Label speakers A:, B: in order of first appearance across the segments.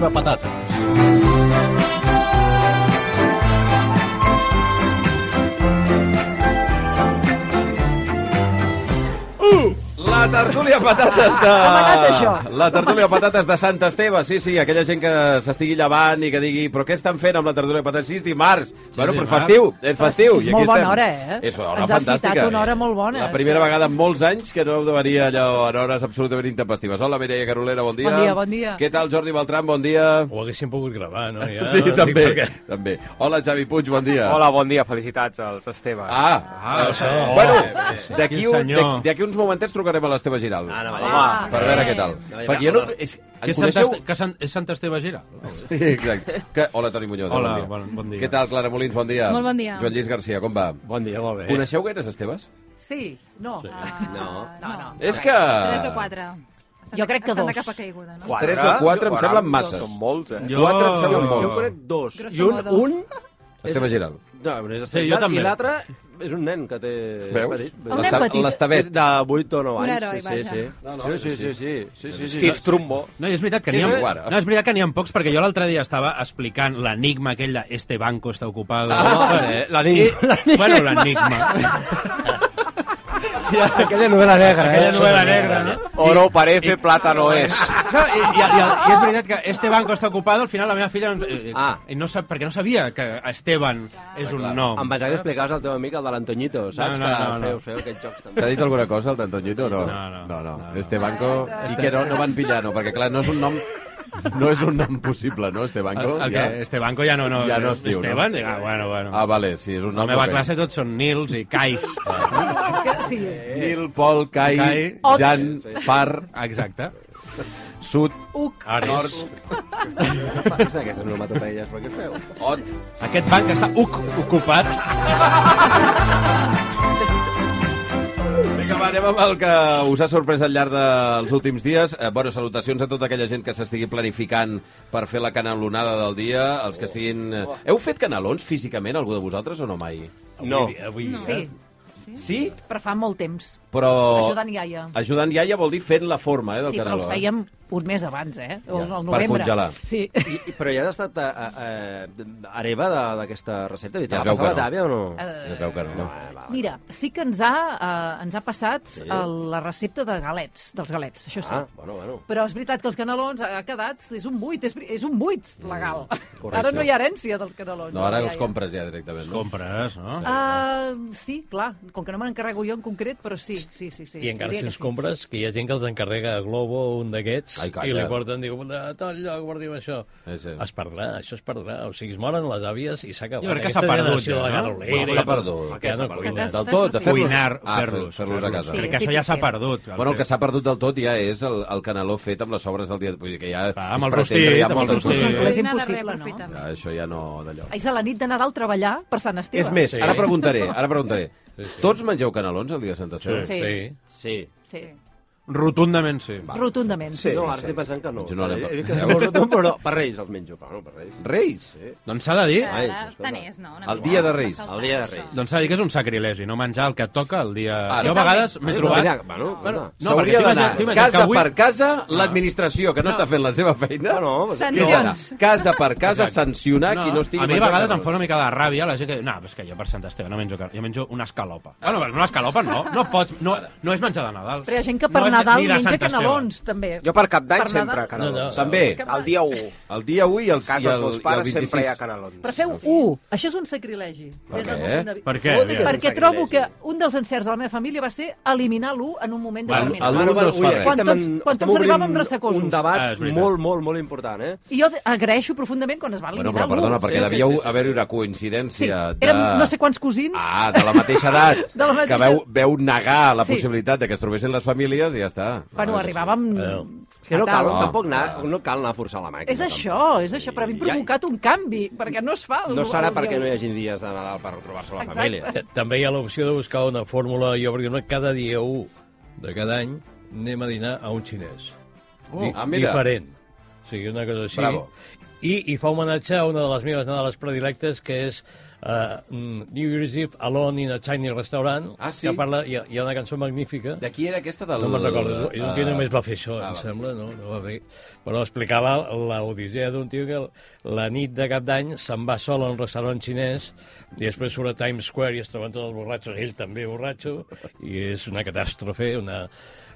A: de patates.
B: La tertúlia patates de...
C: Ha manat això.
B: La tertúlia patates de Sant Esteve, sí, sí, aquella gent que s'estigui llevant i que digui però què estan fent amb la tertúlia patates? Sí, és dimarts. Sí, bueno, però
D: dimarts.
B: festiu, és festiu.
C: És
B: i aquí
C: molt bona
B: estem.
C: hora, eh?
B: És una hora
C: Ens has
B: fantàstica.
C: citat una hora molt bona. eh?
B: La primera vegada en molts anys que no venia allò en hores absolutament intempestives. Hola, Mireia Carolera, bon dia.
E: Bon dia, bon dia.
B: Què tal, Jordi Beltran, bon dia. Eh,
D: Ho haguéssim pogut gravar, no? Ja,
B: sí,
D: no sé
B: també,
D: per què.
B: també. Hola, Xavi Puig, bon dia.
F: Hola, bon dia, felicitats als Esteves.
B: Ah,
D: Ah, això.
B: Bueno,
D: Sí,
B: d'aquí
D: quin
B: un,
D: senyor.
B: d'ac- d'aquí uns momentets trucarem a l'Esteve Giral. Ara,
F: Home, va.
B: per veure què tal.
F: Bé.
B: Perquè jo no... És, en
D: Que és Sant,
B: coneixeu...
D: Est- que Sant, és Sant Esteve Gera?
B: Sí, Exacte. Que... Hola, Toni Muñoz.
D: Hola,
B: bon dia.
D: bon- bon dia.
B: Què tal, Clara Molins? Bon dia.
E: Molt bon dia.
B: Joan Lluís Garcia, com va?
D: Bon dia, molt bé.
B: Coneixeu gaires Esteves?
E: Sí.
C: No.
E: Ah,
F: No.
E: No, no.
B: És que...
G: Tres o quatre. Estan
C: Jo crec que
G: estan de
C: dos.
G: capa caiguda, no?
F: Quatre?
B: Tres o quatre em
F: Quatre?
B: semblen masses.
F: Són molts, eh?
D: Jo-
B: Quatre em semblen
F: jo
B: molts.
F: en conec dos.
G: Grosso
F: I un,
G: modo.
F: un...
B: Esteve Giral.
F: No, no és
D: Sí, jo
F: Giral,
D: també.
F: I l'altre és un nen que té...
B: Veus?
F: petit.
B: Un nen petit.
F: Sí, De 8 o 9
G: Un
F: anys. sí,
G: heroi,
F: sí,
G: vaja.
F: sí.
B: No, no,
F: sí, sí,
B: sí.
F: sí, sí, sí, sí, sí.
D: Steve
F: Trumbo.
D: No, i és veritat que
B: Quin
D: n'hi ha...
B: guara.
D: No, és veritat que n'hi ha pocs, perquè jo l'altre dia estava explicant l'enigma aquell de este banco està ocupado.
F: Ah, eh, l'enigma,
D: I-
F: l'enigma.
D: Bueno, l'enigma.
F: Aquella novel·la negra,
D: Aquella novel·la negra, eh. no?
F: Oro parece, plata no és.
D: No, i, i, i, i és veritat que este banco està ocupat, al final la meva filla... Eh, ah.
F: Ah.
D: no sap, perquè no sabia que Esteban és un nom.
F: Em pensava que explicaves al teu amic el de l'Antoñito, saps?
D: No, no, no,
F: que
D: no.
F: feu, feu aquests jocs també.
B: T'ha dit alguna cosa, el d'Antoñito, o no?
D: No, no.
B: no, no.
D: No, no.
B: Este banco... I que no, no van pillar, no, perquè clar, no és un nom... No és un nom possible, no, este
D: El,
B: banco?
D: el
B: ja?
D: que este banco ja no, no,
B: Ja no es diu,
D: Esteban,
B: no?
D: dic, ah, bueno, bueno.
B: Ah, vale, sí, és un
D: la
B: nom...
D: meva
B: que-
D: classe tots són Nils i Kais.
B: Ah.
C: És que, sí.
B: Nil, Pol, Kai,
D: Kai.
C: Ots.
B: Jan, Far,
D: Exacte.
B: Sud,
C: Uc.
D: Ara és...
B: Nord,
F: Què passa, aquestes onomatopeies? Però què feu?
B: Ot...
D: Aquest banc està uc ocupat.
B: Vinga, va, anem amb el que us ha sorprès al llarg dels últims dies. Eh, bueno, salutacions a tota aquella gent que s'estigui planificant per fer la canalonada del dia, els
C: Oh.
B: que estiguin... eh, Heu fet canalons físicament, algú de vosaltres, o no mai?
F: No.
D: Avui, avui,
C: Sí,
B: Sí,
C: però fa molt temps.
B: però...
C: Ajudant iaia.
B: Ajudant iaia vol dir fent la forma, eh, del
C: Sí, però
B: canaló.
C: els fèiem un mes abans, eh? O
B: Ja,
C: el
B: per
C: novembre.
B: congelar.
C: Sí.
F: I, i- però ja has estat a, a, a, hereva de- d'aquesta recepta? I Te
B: Ja
F: la
B: es veu que
F: passava
B: no.
F: tàvia o no?
B: Eh, Es veu que no.
C: Mira, sí que ens ha, eh, ens ha passat sí. el, la recepta de galets, dels galets, això sí.
F: Ah, bueno, bueno.
C: Però és veritat que els canelons eh, ha quedat... És un buit, és, és un buit legal.
F: correcte.
C: Ara no hi ha herència dels canelons.
B: Mm, No, ara
C: Ja,
B: els
C: ja.
B: compres ja directament, no?
D: Compres, no?
C: Ah, sí, clar, com que no me n'encarrego jo en concret, però sí, sí, sí. sí
H: I encara
C: diria
H: si
C: que
H: els
C: sí.
H: compres, que hi ha gent que els encarrega a Globo un d'aquests
B: Ai, calla.
H: i li porten, diu, a tal lloc, guardiu això.
B: Sí, sí.
H: Es perdrà, això es perdrà. O sigui, es moren les àvies i s'ha acabat.
D: Jo crec que s'ha
H: Aquesta
D: perdut,
H: generació
D: ja,
H: de
D: no?
H: Garolera
B: Bueno, s'ha
H: ja no-
B: perdut.
H: ja no cuina.
B: Del tot, de fer-los...
D: Cuinar,
B: Ah,
D: fer-los.
B: fer-los a casa.
C: Sí.
D: Crec que això ja s'ha
C: difícil.
D: perdut.
B: Bueno, el que s'ha perdut del tot ja és el, el canaló fet amb les sobres del dia... Vull dir que ja...
D: Clar,
B: és
D: amb el
B: pretendre
D: rostit,
B: ja
D: amb el
B: moltes coses.
D: rostit.
C: Però és
G: Cuina de
C: impossible, no?
G: reaprofitament.
B: Ja, això ja no d'allò.
C: Ahir a la nit de Nadal treballar per Sant Esteve.
B: És més,
H: Sí.
B: ara preguntaré, ara preguntaré. Tots mengeu canelons el dia de Sant Esteve?
C: Sí.
H: Sí.
F: Sí.
C: Sí.
D: Rotundament sí.
B: Va.
C: Rotundament. Sí.
F: no, ara
B: sí, sí.
F: estic pensant que no.
B: Jo no l'he-
F: He dit que és molt rotund, però no, per Reis els menjo. Però no, per Reis.
B: Reis?
D: Doncs s'ha de dir...
F: Ai,
G: Ara
F: escolta.
G: tant és, no? Una
B: El
G: mica.
B: dia de Reis.
G: Saltar,
F: El dia de Reis.
G: això.
D: Doncs s'ha de dir que és un sacrilegi, no menjar el que toca el dia...
B: Ara.
D: jo a vegades m'he
F: Bueno,
D: trobat...
F: mira, Bueno, bueno.
D: No,
B: No, S'hauria
D: perquè
B: d'anar
D: t'imagines- t'imagines
B: casa
D: que avui- Ah.
B: per casa l'administració, que no, està fent la seva feina.
F: Bueno, home,
G: Sant
B: Què és ara?
G: Sancions.
B: Casa per casa, sancionar qui no estigui...
D: a mi a
B: menjant
D: vegades em
B: canelons.
D: fa una mica de ràbia la gent que diu, no, és que jo per Sant Esteve no menjo carn, jo menjo una escalopa.
B: Ah.
D: Bueno, però una escalopa no, no pots, no, no és menjar de Nadal.
C: Però hi ha gent que per
D: No és
C: Nadal
D: ni de
C: menja
D: Sant Esteve.
C: canelons, també.
I: Jo per cap d'any
C: Per Nadal?
I: sempre
H: No, no.
I: canelons.
B: També,
I: El dia 1,
B: el dia avui i el,
I: a
B: i
I: casa
B: el,
I: dels meus
B: i el
I: pares sempre hi ha
B: 26.
I: canelons.
C: Però feu un. Això és un sacrilegi.
B: Per
C: des del
B: què?
C: meu punt de vista.
D: Per què?
C: Vol dir que-
D: Aviam.
C: Perquè trobo que un dels encerts de la meva família va ser eliminar l'1 en un moment
B: Bueno,
C: determinat.
B: el- no es fa res.
C: Quan tots-
F: en-
C: quan tots
F: estem
C: arribàvem
F: obrint
C: ressacosos.
F: Un
D: Ah, és
F: debat
D: veritat.
F: molt, molt, molt important, eh?
C: I jo agraeixo profundament quan es va
B: Bueno, però
C: eliminar l'1.
B: perdona, perquè
C: Sí,
B: devíeu
C: sí, sí, sí.
B: haver-hi una
C: Sí,
B: coincidència de...
C: érem no sé quants cosins.
B: Ah, de la mateixa edat,
C: De la mateixa-
B: que veu, veu negar la
C: Sí.
B: possibilitat de que es trobessin les famílies i ja està.
C: Bueno,
B: Ah,
C: arribàvem...
H: Adéu.
F: És que no cal,
B: No.
F: tampoc anar, no cal anar a forçar la màquina.
C: Ah, És això,
F: tampoc.
C: és això, però hem provocat un canvi, perquè no es fa... el-
F: No serà
C: el-
F: perquè no hi hagi dies de Nadal per trobar-se la
C: Exacte.
F: família.
H: Ta- També hi ha l'opció de buscar una fórmula, jo perquè no cada dia 1 de cada any anem a dinar a un xinès.
B: Oh,
H: Di-
B: ah, mira.
H: Diferent. O sigui, una cosa així.
B: Bravo.
H: I, I fa homenatge a una de les meves nadales predilectes, que és uh, New Year's Eve Alone in a Chinese Restaurant,
B: Ah, sí?
H: que parla, hi ha, hi ha una cançó magnífica,
B: De qui doncs, era aquesta? Del,
H: no me'n recordo, és un tio
B: eh,
H: només va fer això,
B: ah,
H: em
B: va.
H: sembla, no, no va fer... Però explicava l'odissea d'un tio que la nit de cap d'any se'n va sol a un restaurant xinès i després surt a Times Square i es troben tots els borratxos, ell també borratxo, i és una catàstrofe, una,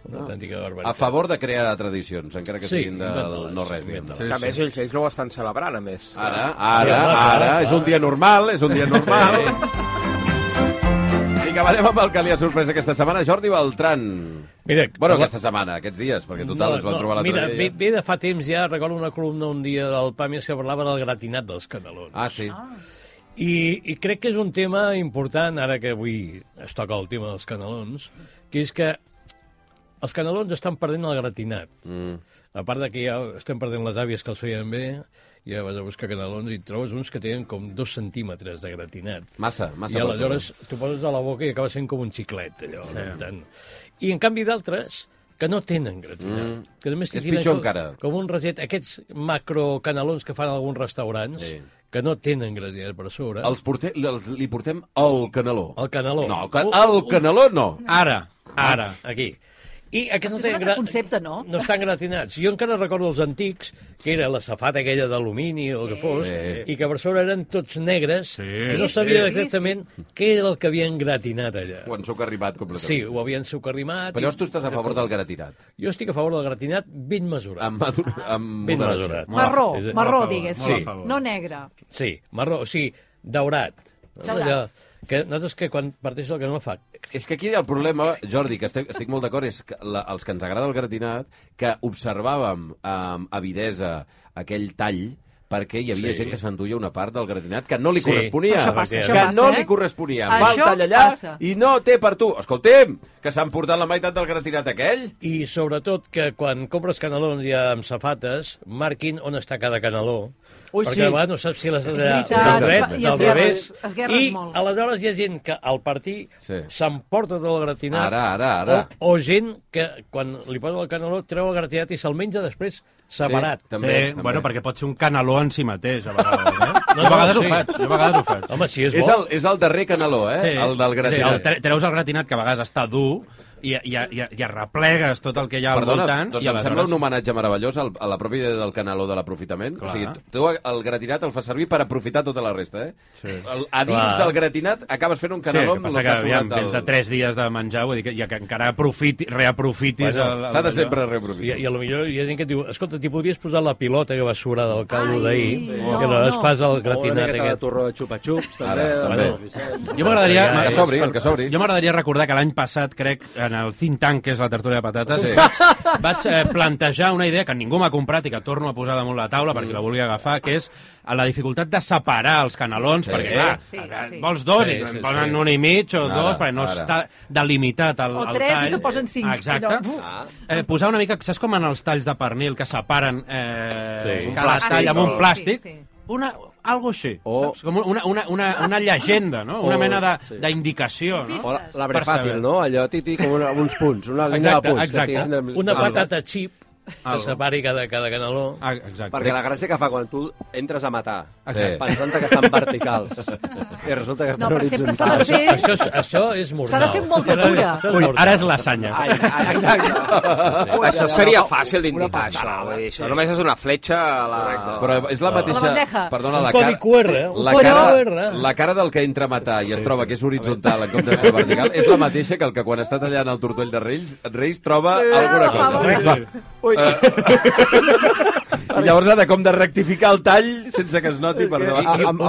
H: una autèntica
B: Ah. A
H: barbaritat.
B: favor de crear tradicions, encara que
H: Sí,
B: siguin de,
H: inventa-les,
B: no res. diguem-ne.
H: inventa-les.
A: Que a més ells, ells no ho estan celebrant, a més.
B: Ara, ara, ara, és un dia normal, és un dia normal. I acabarem amb el que li ha sorprès aquesta setmana, Jordi Beltran.
H: Mira,
B: Bueno,
H: la-
B: aquesta setmana, aquests dies, perquè total ens vam trobar l'altre
H: mira,
B: dia.
H: ve, ve de fa temps ja, recordo una columna un dia del Pàmies que parlava del gratinat dels canelons.
B: Ah, sí.
H: I, I crec que és un tema important, ara que avui es toca el tema dels canelons, que és que els canelons estan perdent el gratinat. Mm. A part de que ja estem perdent les àvies que els feien bé, ja vas a buscar canelons i trobes uns que tenen com dos centímetres de gratinat.
B: Massa, massa.
H: I aleshores t'ho poses a la boca i acaba sent com un xiclet, allò. Sí. Tant. I en canvi d'altres que no tenen gratinat. Mm. Que només
B: És
H: tenen
B: pitjor
H: com,
B: encara.
H: Com un reset, aquests macrocanalons que fan alguns restaurants, sí. que no tenen gratinat per sobre.
B: Els porte, els, li portem el caneló.
H: El caneló. Uh,
B: No, el, ca el caneló no.
D: Ara, ara.
H: Ah, Aquí. I aquests
C: És
H: no
C: un
H: tenen
C: altre concepte, no?
H: No estan gratinats. Jo encara recordo els antics, que era la safata aquella d'alumini o el que fos,
B: Sí.
H: i que per sobre eren tots negres, sí. que no
C: Sí,
H: sabia
C: sí,
H: exactament què era el que havien gratinat allà.
B: Quan sóc arribat
H: Sí,
B: completament.
H: ho havien sucarrimat.
B: Però llavors tu estàs a favor del gratirat.
H: Jo estic a favor del gratinat ben mesurat.
B: Amb, madur...
H: Ah.
B: amb
H: ben
B: moderació.
H: mesurat.
C: Marró,
H: És-
C: marró,
D: favor,
C: diguéssim.
H: molt a
D: favor.
C: No negre.
H: Sí, marró, o sigui, daurat.
C: Daurat.
H: que nosaltres que quan parteix el que no fa...
B: És que aquí el problema, Jordi, que estic, estic molt d'acord, és que la, els que ens agrada el gratinat, que observàvem amb avidesa aquell tall perquè hi havia sí. gent que s'enduia una part del gratinat que no li
H: Sí.
B: sí. corresponia.
H: Això passa,
B: que
H: això
C: passa,
B: no
C: eh?
B: li corresponia.
C: Això
B: Fa el tall allà
C: passa.
B: i no té per tu. Escoltem, que s'han portat la meitat del gratinat aquell.
H: I sobretot que quan compres canelons ja amb safates, marquin on està cada caneló. Ui, perquè
B: sí.
H: a vegades no saps si les has de
C: veritat,
H: del dret,
C: i
H: del
C: esguerres-
H: revés.
C: esguerres
H: I
C: molt.
H: aleshores hi ha gent que al partir
B: Sí.
H: s'emporta tot el gratinat.
B: Ara, ara, ara.
H: O, o gent que quan li posa el caneló treu el gratinat i se'l menja després separat.
B: també.
D: També, sí, bueno, perquè pot ser un canaló en si mateix, a vegades, eh? No, a vegades
H: no,
D: sí.
H: sí.
D: ho faig, jo a vegades ho faig.
H: Home, si és,
B: És
H: bo...
B: el, és el darrer canaló, eh? El del
D: Sí, el
B: gratinat.
D: tre- treus el gratinat, que a vegades està dur, i, i, i, i arreplegues tot el que hi ha
B: Perdona,
D: al voltant,
B: doncs
D: i
B: em sembla un
D: aleshores...
B: homenatge meravellós al, a la pròpia idea del canaló de l'aprofitament. O
D: Clar.
B: sigui, tu el gratinat el fas servir per aprofitar tota la resta, eh?
D: Sí.
B: El, a dins
H: Clar.
B: del gratinat acabes fent un
D: Sí, el
B: canaló
D: que passa que, aviam, vens de 3 dies de menjar, vull dir que, i que encara aprofiti, reaprofitis...
H: Bueno,
D: el- el-
B: S'ha de
D: allò.
B: sempre
H: I,
B: reaprofitar.
H: I a lo millor hi ha gent que et diu, escolta, t'hi podries posar la pilota que va sobrar del caldo
C: Ai,
H: d'ahir,
C: sí.
H: i
C: No,
H: aleshores
C: no.
H: fas el
F: O una
H: gratinat
F: miqueta de
H: aquest.
F: torró de xupa-xups, també.
B: Ara,
F: doncs,
B: també.
D: Jo m'agradaria...
H: Ja, ja,
B: Que s'obri, el que s'obri.
D: Jo m'agradaria recordar que l'any passat, crec, en el Think Tank, que és la tertúlia de patates,
B: Sí.
D: sí. vaig, vaig eh, plantejar una idea que ningú m'ha comprat i que torno a posar damunt la taula
B: Mm.
D: perquè la volia agafar, que és a la dificultat de separar els canelons,
B: Sí.
D: sí, perquè, clar,
C: Sí,
D: sí,
C: sí.
D: sí. vols dos
H: Sí,
D: sí, i
H: sí,
D: en
H: sí.
D: posen un i mig o
B: Ara,
D: dos, perquè no
B: ara.
D: està delimitat el,
C: O
D: el
C: tres i
D: tall.
C: te posen cinc.
D: Exacte.
C: Allò, buf.
B: Ah.
D: Eh, posar una mica, saps com en els talls de pernil que separen eh,
H: Sí.
D: sí.
H: Un
D: cada
B: plàstic,
D: tall amb un
B: no?
D: plàstic?
C: Sí, sí.
D: Una, algo així,
F: O-
D: saps? com una, una, una, una llegenda, no? una
F: O-
D: mena de-
F: sí.
D: d'indicació. Sí. No?
F: O la- l'abre
D: Per
F: fàcil,
D: saber.
F: no? Allò, titi, com una, uns punts, una línia
D: Exacte,
F: de punts.
D: exacte.
F: que tinguessin-
H: Una
F: Algo.
H: patata xip que
D: Algo.
H: separi cada, cada caneló.
D: Ah, exacte.
F: Perquè la gràcia que fa quan tu entres a matar,
B: Exacte.
F: pensant que estan verticals, i resulta que
C: No,
F: estan
C: però sempre s'ha de
F: horitzontals.
C: fer...
H: Ah, Això, és, això és mortal.
C: S'ha de fer amb molta cura.
H: Això és
D: Ui,
H: mortal.
D: ara és la sanya.
F: Ai, ai, exacte.
A: Això seria fàcil d'indicar,
F: Una
A: això.
F: pastrada.
A: vull dir, Això només és una fletxa a la...
B: Però és Ah. la mateixa...
C: bandeja.
B: Perdona,
H: Un
B: la
H: codi
B: cara...
H: QR, eh? un
B: La
H: codi
B: cara,
H: QR.
B: la cara del que entra a matar i es troba que és horitzontal en comptes de vertical és la mateixa que el que quan està tallant el tortoll de Reis, Reis troba
H: Eh,
B: alguna
H: Ah,
C: per
B: cosa.
C: favor.
B: Va, I llavors ha de com de rectificar el tall sense que es noti per
H: I,
F: Ah,
B: davant.
H: i, amb,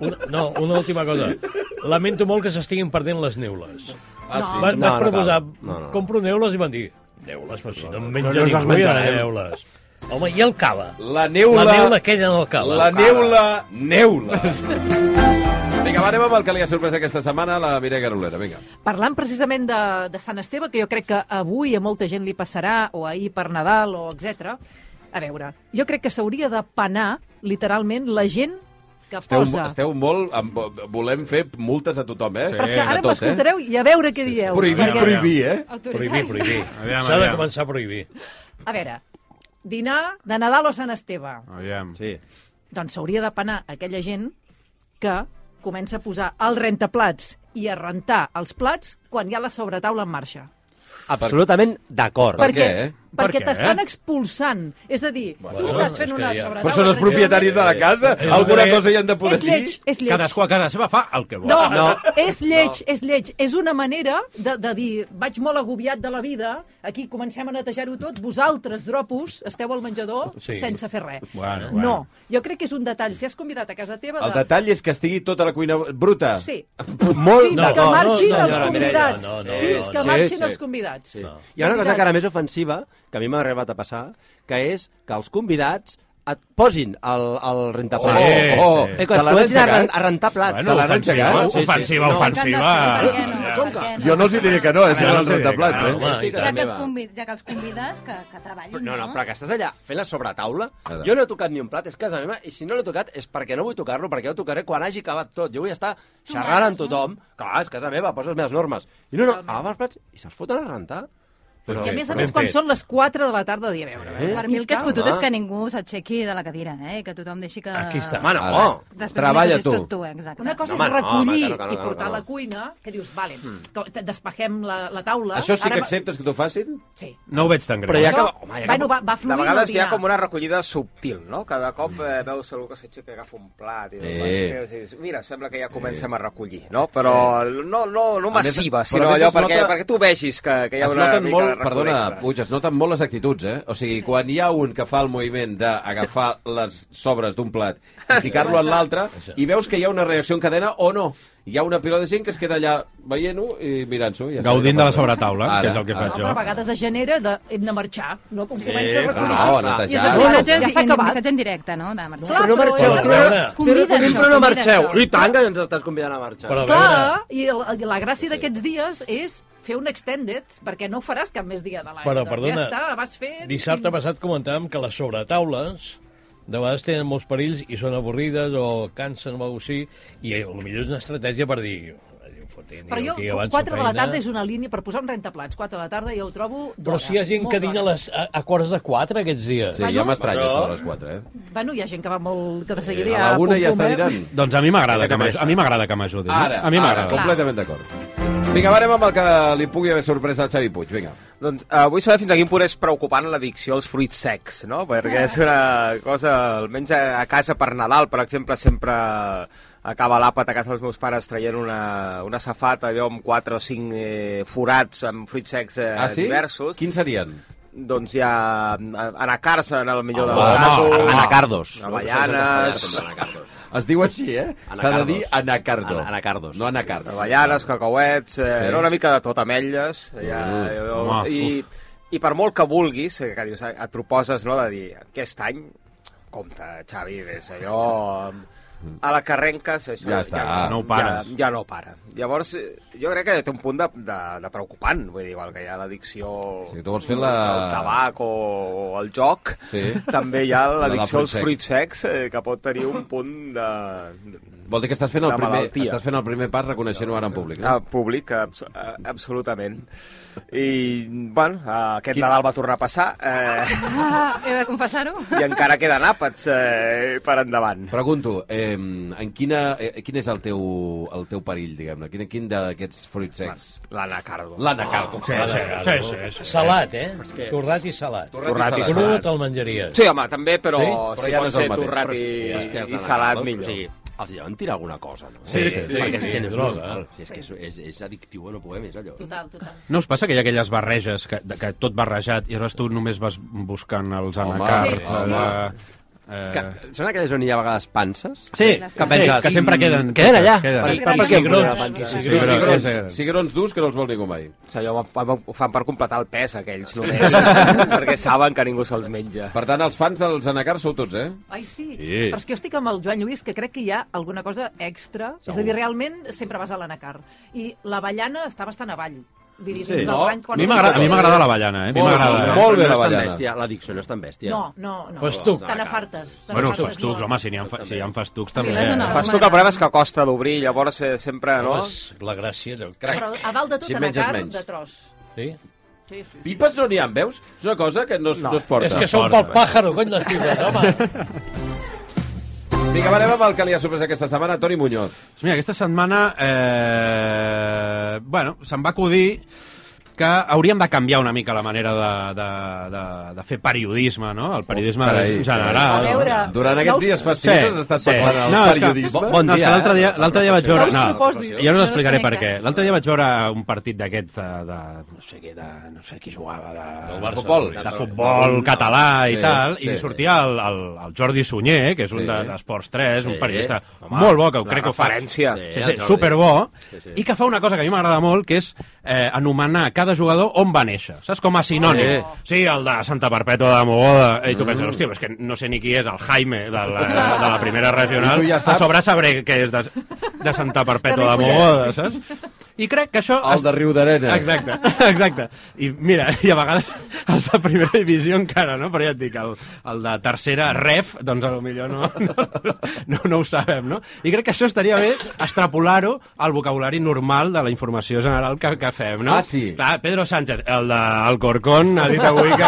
H: una, no, una última cosa. Lamento molt que s'estiguin perdent les neules.
B: Ah, sí.
H: Va,
F: No,
H: vas
F: no
H: proposar,
F: cal. No, no.
H: compro neules i van dir, neules, però si no em menja
F: no ens les
H: ningú, ja
F: menjarem."
H: neules. Home, i el cava?
B: La neula...
H: La neula aquella en el cava.
B: La neula, neula. Vinga, va, anem amb el que li ha sorprès aquesta setmana, la Mireia Garolera, vinga.
C: Parlant precisament de, de Sant Esteve, que jo crec que avui a molta gent li passarà, o ahir per Nadal, o etc. A veure, jo crec que s'hauria de penar, literalment, la gent que
B: Esteu,
C: posa...
B: esteu molt... Amb, volem fer multes a tothom, eh?
C: Però és que ara
B: a tot, eh?
C: m'escoltareu i a veure què dieu.
B: Prohibir,
C: perquè-
B: prohibir, eh?
H: Prohibir, prohibir.
D: Aviam,
H: S'ha de
D: aviam.
H: començar a prohibir.
C: A veure, dinar de Nadal o Sant Esteve?
D: Aviam.
F: Sí.
C: Doncs s'hauria de penar aquella gent que comença a posar el rentaplats i a rentar els plats quan hi ha la sobretaula en marxa. Ah,
F: Absolutament d'acord.
B: Per- què?
C: Perquè
D: Per què?
C: t'estan expulsant. És a dir,
H: Bueno,
C: tu estàs
H: és
C: fent
H: que
C: una
H: ja-
C: sobretaula...
B: Però són els propietaris de la casa?
H: Eh, eh,
B: Alguna
H: eh,
B: cosa hi han de poder
C: És lleig,
B: dir?
C: és lleig.
D: Cadascú a Ah, casa seva fa el que vol.
C: No, no, és lleig, és lleig. És una manera de, de dir, vaig molt agobiat de la vida, aquí comencem a netejar-ho tot, vosaltres, dropos, esteu al menjador
H: Sí.
C: sí. sense fer res.
D: Bueno,
C: No,
D: bueno.
C: jo crec que és un detall. Si has convidat a casa teva...
B: El
C: de...
B: detall és que estigui tota la cuina bruta.
C: Sí.
F: Molt
C: Fins
H: No,
C: que
H: no,
C: marxin
H: no,
C: els
H: senyora Mireia,
C: convidats.
H: no, no,
C: Fins
H: no,
C: que
F: no.
C: marxin
F: Sí, sí.
C: els convidats.
F: Sí. Hi ha una cosa
C: Convidats.
F: que era més ofensiva, que a mi m'ha arribat a passar, que és que els convidats et posin el, el
B: Oh,
F: rentaplats.
D: Sí,
B: oh,
D: sí.
F: Eh,
B: te
F: que et
B: l'han
F: comencin a, ren
B: aixecat?
F: a rentar plats.
D: Bueno,
B: Se l'han
G: Ah,
D: ofensiva,
B: aixecat?
F: Sí, sí,
D: ofensiva,
F: sí, no.
D: ofensiva.
G: Per què no? Per què no?
B: Jo no els hi diré que no, eh, si
D: Ah,
B: no els
D: no els hi diré que
B: rentaplats, eh?
D: no,
H: Home, i
G: Ja
H: tant.
G: que, et convid, ja que els convides, que, que treballin,
F: No,
G: no?
F: no, però que estàs allà fent la sobretaula.
B: Ara.
F: Jo no he tocat ni un plat, és casa meva, i si no l'he tocat és perquè no vull tocar-lo, perquè jo tocaré quan hagi acabat tot. Jo vull estar xerrant amb tothom. Clar, és casa meva, poso les meves normes. I no, no, agafo els plats i se'ls foten a rentar. Però,
C: I a més a
H: Ben
C: més, quan
H: fet.
C: són les 4 de la tarda, dir, a veure, a veure.
G: Per mi el que és fotut és que ningú s'aixequi de la cadira, eh? I que tothom deixi que...
H: Aquí està.
F: Home, no.
B: Ara.
G: Després
B: Treballa
G: m'hi posis
B: tu.
G: Tot tu, eh, exacte.
C: Una cosa
F: No,
C: és
F: home, no, home,
C: recollir
F: que no, que no,
C: i
F: que no,
C: portar
F: que no.
C: a la cuina, que dius, vale, que te- despachem la, la taula.
B: Això sí
C: ara
B: que
C: va-
B: acceptes que t'ho facin?
C: Sí.
D: No ho veig tan greu.
F: Però ja
C: Això,
F: acaba- home, ja acaba-
C: bueno, va, va
A: De
C: fluir en el
A: vegades hi ha
C: dinar.
A: com una recollida subtil, no? Cada cop eh, veus algú que s'aixeca i agafa un plat i,
B: Eh.
A: i dius, mira, sembla que ja comencem a recollir, no? Però no, no, no
B: A més,
A: massiva,
B: però
A: sinó
B: a més
A: allò
B: es
A: perquè,
B: nota-
A: perquè tu vegis que, que hi ha
B: es
A: una
B: noten
A: mica
B: molt,
A: de
B: perdona,
A: recorregut.
B: Puig, es noten molt les actituds, eh? O sigui, quan hi ha un que fa el moviment d'agafar les sobres d'un plat i ficar-lo en l'altre, i veus que hi ha una reacció en cadena o no. Hi ha una pila de gent que es queda allà veient-ho i mirant-s'ho. i Ja està.
D: Gaudint de la sobretaula,
B: Ara,
D: que és el que
B: ara.
D: faig
C: No, però a
D: jo.
C: vegades es genera de hem de marxar, no? Com comença a
F: però
C: recollir
B: no,
C: això.
B: netejar.
C: I és
B: Ah,
C: el
B: bueno,
C: missatge,
G: missatge,
C: ja s'ha
G: en,
C: acabat.
G: missatge en directe, no? De marxar.
C: Clar,
F: Però no
C: però-
F: marxeu,
H: Però-
F: però,
H: Però-
F: convida,
G: Convida això,
F: però no
G: convida
F: marxeu.
G: això.
F: I tant que ens estàs convidant a marxar.
H: Però a veure,
C: Clar, i la, i la gràcia d'aquests dies és fer un extended, perquè no ho faràs cap més dia de l'any.
H: Però,
C: Doncs
H: perdona,
C: ja està, vas fent...
H: dissabte passat comentàvem que les sobretaules de vegades tenen molts perills i són avorrides o cansen o alguna cosa així, i eh, potser és una estratègia per dir...
C: Però jo, 4 de la tarda és una línia per posar un rentaplats. 4 de la tarda jo ho trobo... Dona,
H: Però si hi ha gent
C: molt
H: que dina a,
C: dona.
H: les, a, a quarts de 4 aquests dies.
B: Sí,
C: Bueno,
B: ja m'estranya, això de les 4, eh?
C: Bueno, hi ha gent que va molt... Que de seguida
B: A la
C: ja...
B: una
C: pum,
B: ja
C: pum,
B: està
C: eh?
B: dinant.
D: Doncs a mi m'agrada que m'aj-
F: pressa.
D: a mi m'agrada que m'ajudin.
B: Ara,
D: a mi
B: ara,
D: m'agrada.
B: completament d'acord. Vinga, va, anem amb el que li pugui haver sorprès al Xavi Puig, vinga.
A: Doncs eh, vull saber fins a quin punt és preocupant l'addicció als fruits secs, no? Perquè és una cosa, almenys a, a casa per Nadal, per exemple, sempre acaba l'àpat a casa dels meus pares traient una, una safata allò amb quatre o cinc eh, forats amb fruits secs eh,
B: Ah, sí?
A: diversos.
B: Quins serien?
A: Doncs hi ha eh, anacards en el
B: Ah,
A: millor dels
D: Home,
A: casos.
F: anacardos.
A: Avellanes,
B: Es diu així, eh? S'ha de dir anacardo.
F: Ana- anacardos.
B: No anacardo.
A: Avellanes, cacauets, eh,
B: Sí.
A: sí. era una mica de tot, ametlles, ja,
B: Mm.
A: jo,
D: Home,
A: i, i per molt que vulguis, eh, que dius, eh, et proposes no, de dir, aquest any, compte, Xavi, és allò... A la que arrenques, això
B: Ja està,
A: ja,
D: no ho pares.
A: Ja, ja no para. Llavors, eh, jo crec que té un punt de, de, de preocupant, vull dir, igual que hi ha l'addicció...
B: O sigui, tu vols fer la-
A: Al tabac o, o al joc,
B: Sí.
A: també hi ha
B: del
A: l'addicció als
B: fruit
A: fruits secs, eh, que pot tenir un punt de...
B: Vol dir que estàs fent el
A: La
B: primer,
A: malaltia.
B: estàs fent el primer pas reconeixent-ho ara en públic. No?
A: Ah, públic, abs a- absolutament. I, bueno, eh, aquest
B: Quin-
A: Nadal va tornar a passar eh,
G: Ah, He de confessar-ho?
A: i encara queden àpats eh, per endavant.
B: Pregunto, eh, en quina, eh, quin és el teu, el teu perill, diguem-ne? Quin, quin d'aquests fruits secs?
A: L'anacardo.
B: L'anacardo.
D: Sí, sí, sí, sí, sí.
H: Salat, eh? Torrat i salat.
B: Torrat i
H: Cru
B: salat.
H: te'l menjaries.
A: Sí, home, també, però,
H: Sí?
B: Però
A: si
B: ja no
A: pot
B: és el
A: ser
B: mateix.
A: torrat i,
F: Però és que els
A: i salat,
F: anacardos,
A: millor.
F: O sigui, els deuen tirar alguna cosa, no?
B: sí,
F: Sí,
H: sí,
F: és, que
H: sí,
F: no és
H: droga.
F: normal. Si és que és, és, és addictiu, no poder més, allò.
C: Total, total.
D: No us passa que hi ha aquelles barreges, que, de- que tot barrejat, i aleshores tu només vas buscant els
B: Home,
D: anacards...
G: sí, sí.
D: allà, eh,
F: Que, són aquelles on hi ha a vegades panses?
D: Sí,
G: les
D: que,
G: panses.
D: penses, que sempre queden...
F: Queden allà.
D: Queden.
F: Per,
G: I-
F: per,
G: i
F: per què?
G: cigrons.
F: volen una pansa?
G: Sí,
D: sí, però-
B: cigrons,
D: sí, sí.
B: cigrons durs que no els vol ningú mai.
A: Sí, home, fan, ho fan per completar el pes, aquells, només, perquè saben que ningú se'ls menja.
B: Per tant, els fans dels anacards sou tots, eh?
C: Ai, sí.
D: Sí.
C: Però és que jo estic amb el Joan Lluís, que crec que hi ha alguna cosa extra. Segur. És a dir, realment sempre vas a l'anacar. I l'avellana està bastant avall. Vull dir, sí.
D: No,
C: no.
D: a mi m'agrada a mi m'agrada l'avellana, eh? A mi
B: Molt,
D: m'agrada.
B: molt bé,
F: No és tan
B: l'avellana.
F: bèstia, L'addicció no és tan bèstia.
C: No, no, no.
H: Festuc.
C: Te n'afartes. te
D: Bueno, els
C: n'afartes
D: festucs,
C: molt.
D: home, si n'hi ha, fa- si hi ha festucs també.
G: les
D: eh?
G: anava-
A: Fas tu que proves que costa d'obrir, llavors eh, sempre, no?
H: No és la gràcia, allò.
C: Però a dalt de tot,
B: Si
C: si
B: menges
C: anacar
B: menys.
C: de tros.
H: Sí?
C: Sí, sí.
B: Pipes no n'hi ha, veus? És una cosa que no, es- no. es porta.
H: És que són
D: força.
H: pel pàjaro, cony, les pibes, home.
B: Vinga, va, anem amb el que li ha sorprès aquesta setmana, Toni Muñoz.
D: Doncs mira, aquesta setmana, eh, bueno, se'm va acudir que hauríem de canviar una mica la manera de, de, de, de fer periodisme, no? El periodisme
B: Oh,
D: oh,
B: carai.
D: general.
C: A veure,
B: Durant
C: No
B: aquests
C: us-
B: dies festius has estat pensant en el
D: és que-
B: periodisme?
D: Bon, no, és que l'altre dia, l'altre dia vaig veure...
C: us
D: No,
C: proposis.
D: ja us
G: No
D: explicaré per
G: desconnectes.
D: què. L'altre dia vaig veure un partit d'aquests de, de, no sé què, de, no sé qui jugava, de,
B: Del Barça, futbol.
D: de futbol català i
B: Sí,
D: tal,
B: sí.
D: i sortia el, el, el Jordi Sunyer, eh, que és
B: Sí.
D: un de- d'Esports 3,
F: Sí.
D: un periodista
F: Home,
D: molt bo, que
A: una
D: crec que ho fa...
A: referència.
D: Sí,
F: Sí,
D: sí,
F: el Jordi.
D: superbo,
F: Sí, sí.
D: i que fa una cosa que a mi m'agrada molt, que és eh, anomenar cada jugador on va néixer, saps? Com a sinònim.
F: Oh.
D: Sí, el de Santa Perpètua de Mogoda, i tu penses, hòstia, però és que no sé ni qui és el Jaime de la, de la primera regional,
B: I tu ja
D: a
B: saps.
D: sobre sabré que és de, de Santa Perpètua de
C: Ripollet.
D: Mogoda, saps? I crec que això...
B: El de Riu d'Arenes.
D: Exacte, exacte. I mira, i a vegades els de primera divisió encara, no? Però ja et dic, el, el de tercera ref, doncs a lo millor no, no, no, no ho sabem, no? I crec que això estaria bé extrapolar-ho al vocabulari normal de la informació general que, que fem, no?
B: Ah, sí.
D: Clar, Pedro Sánchez, el d'Alcorcón, ha dit avui que...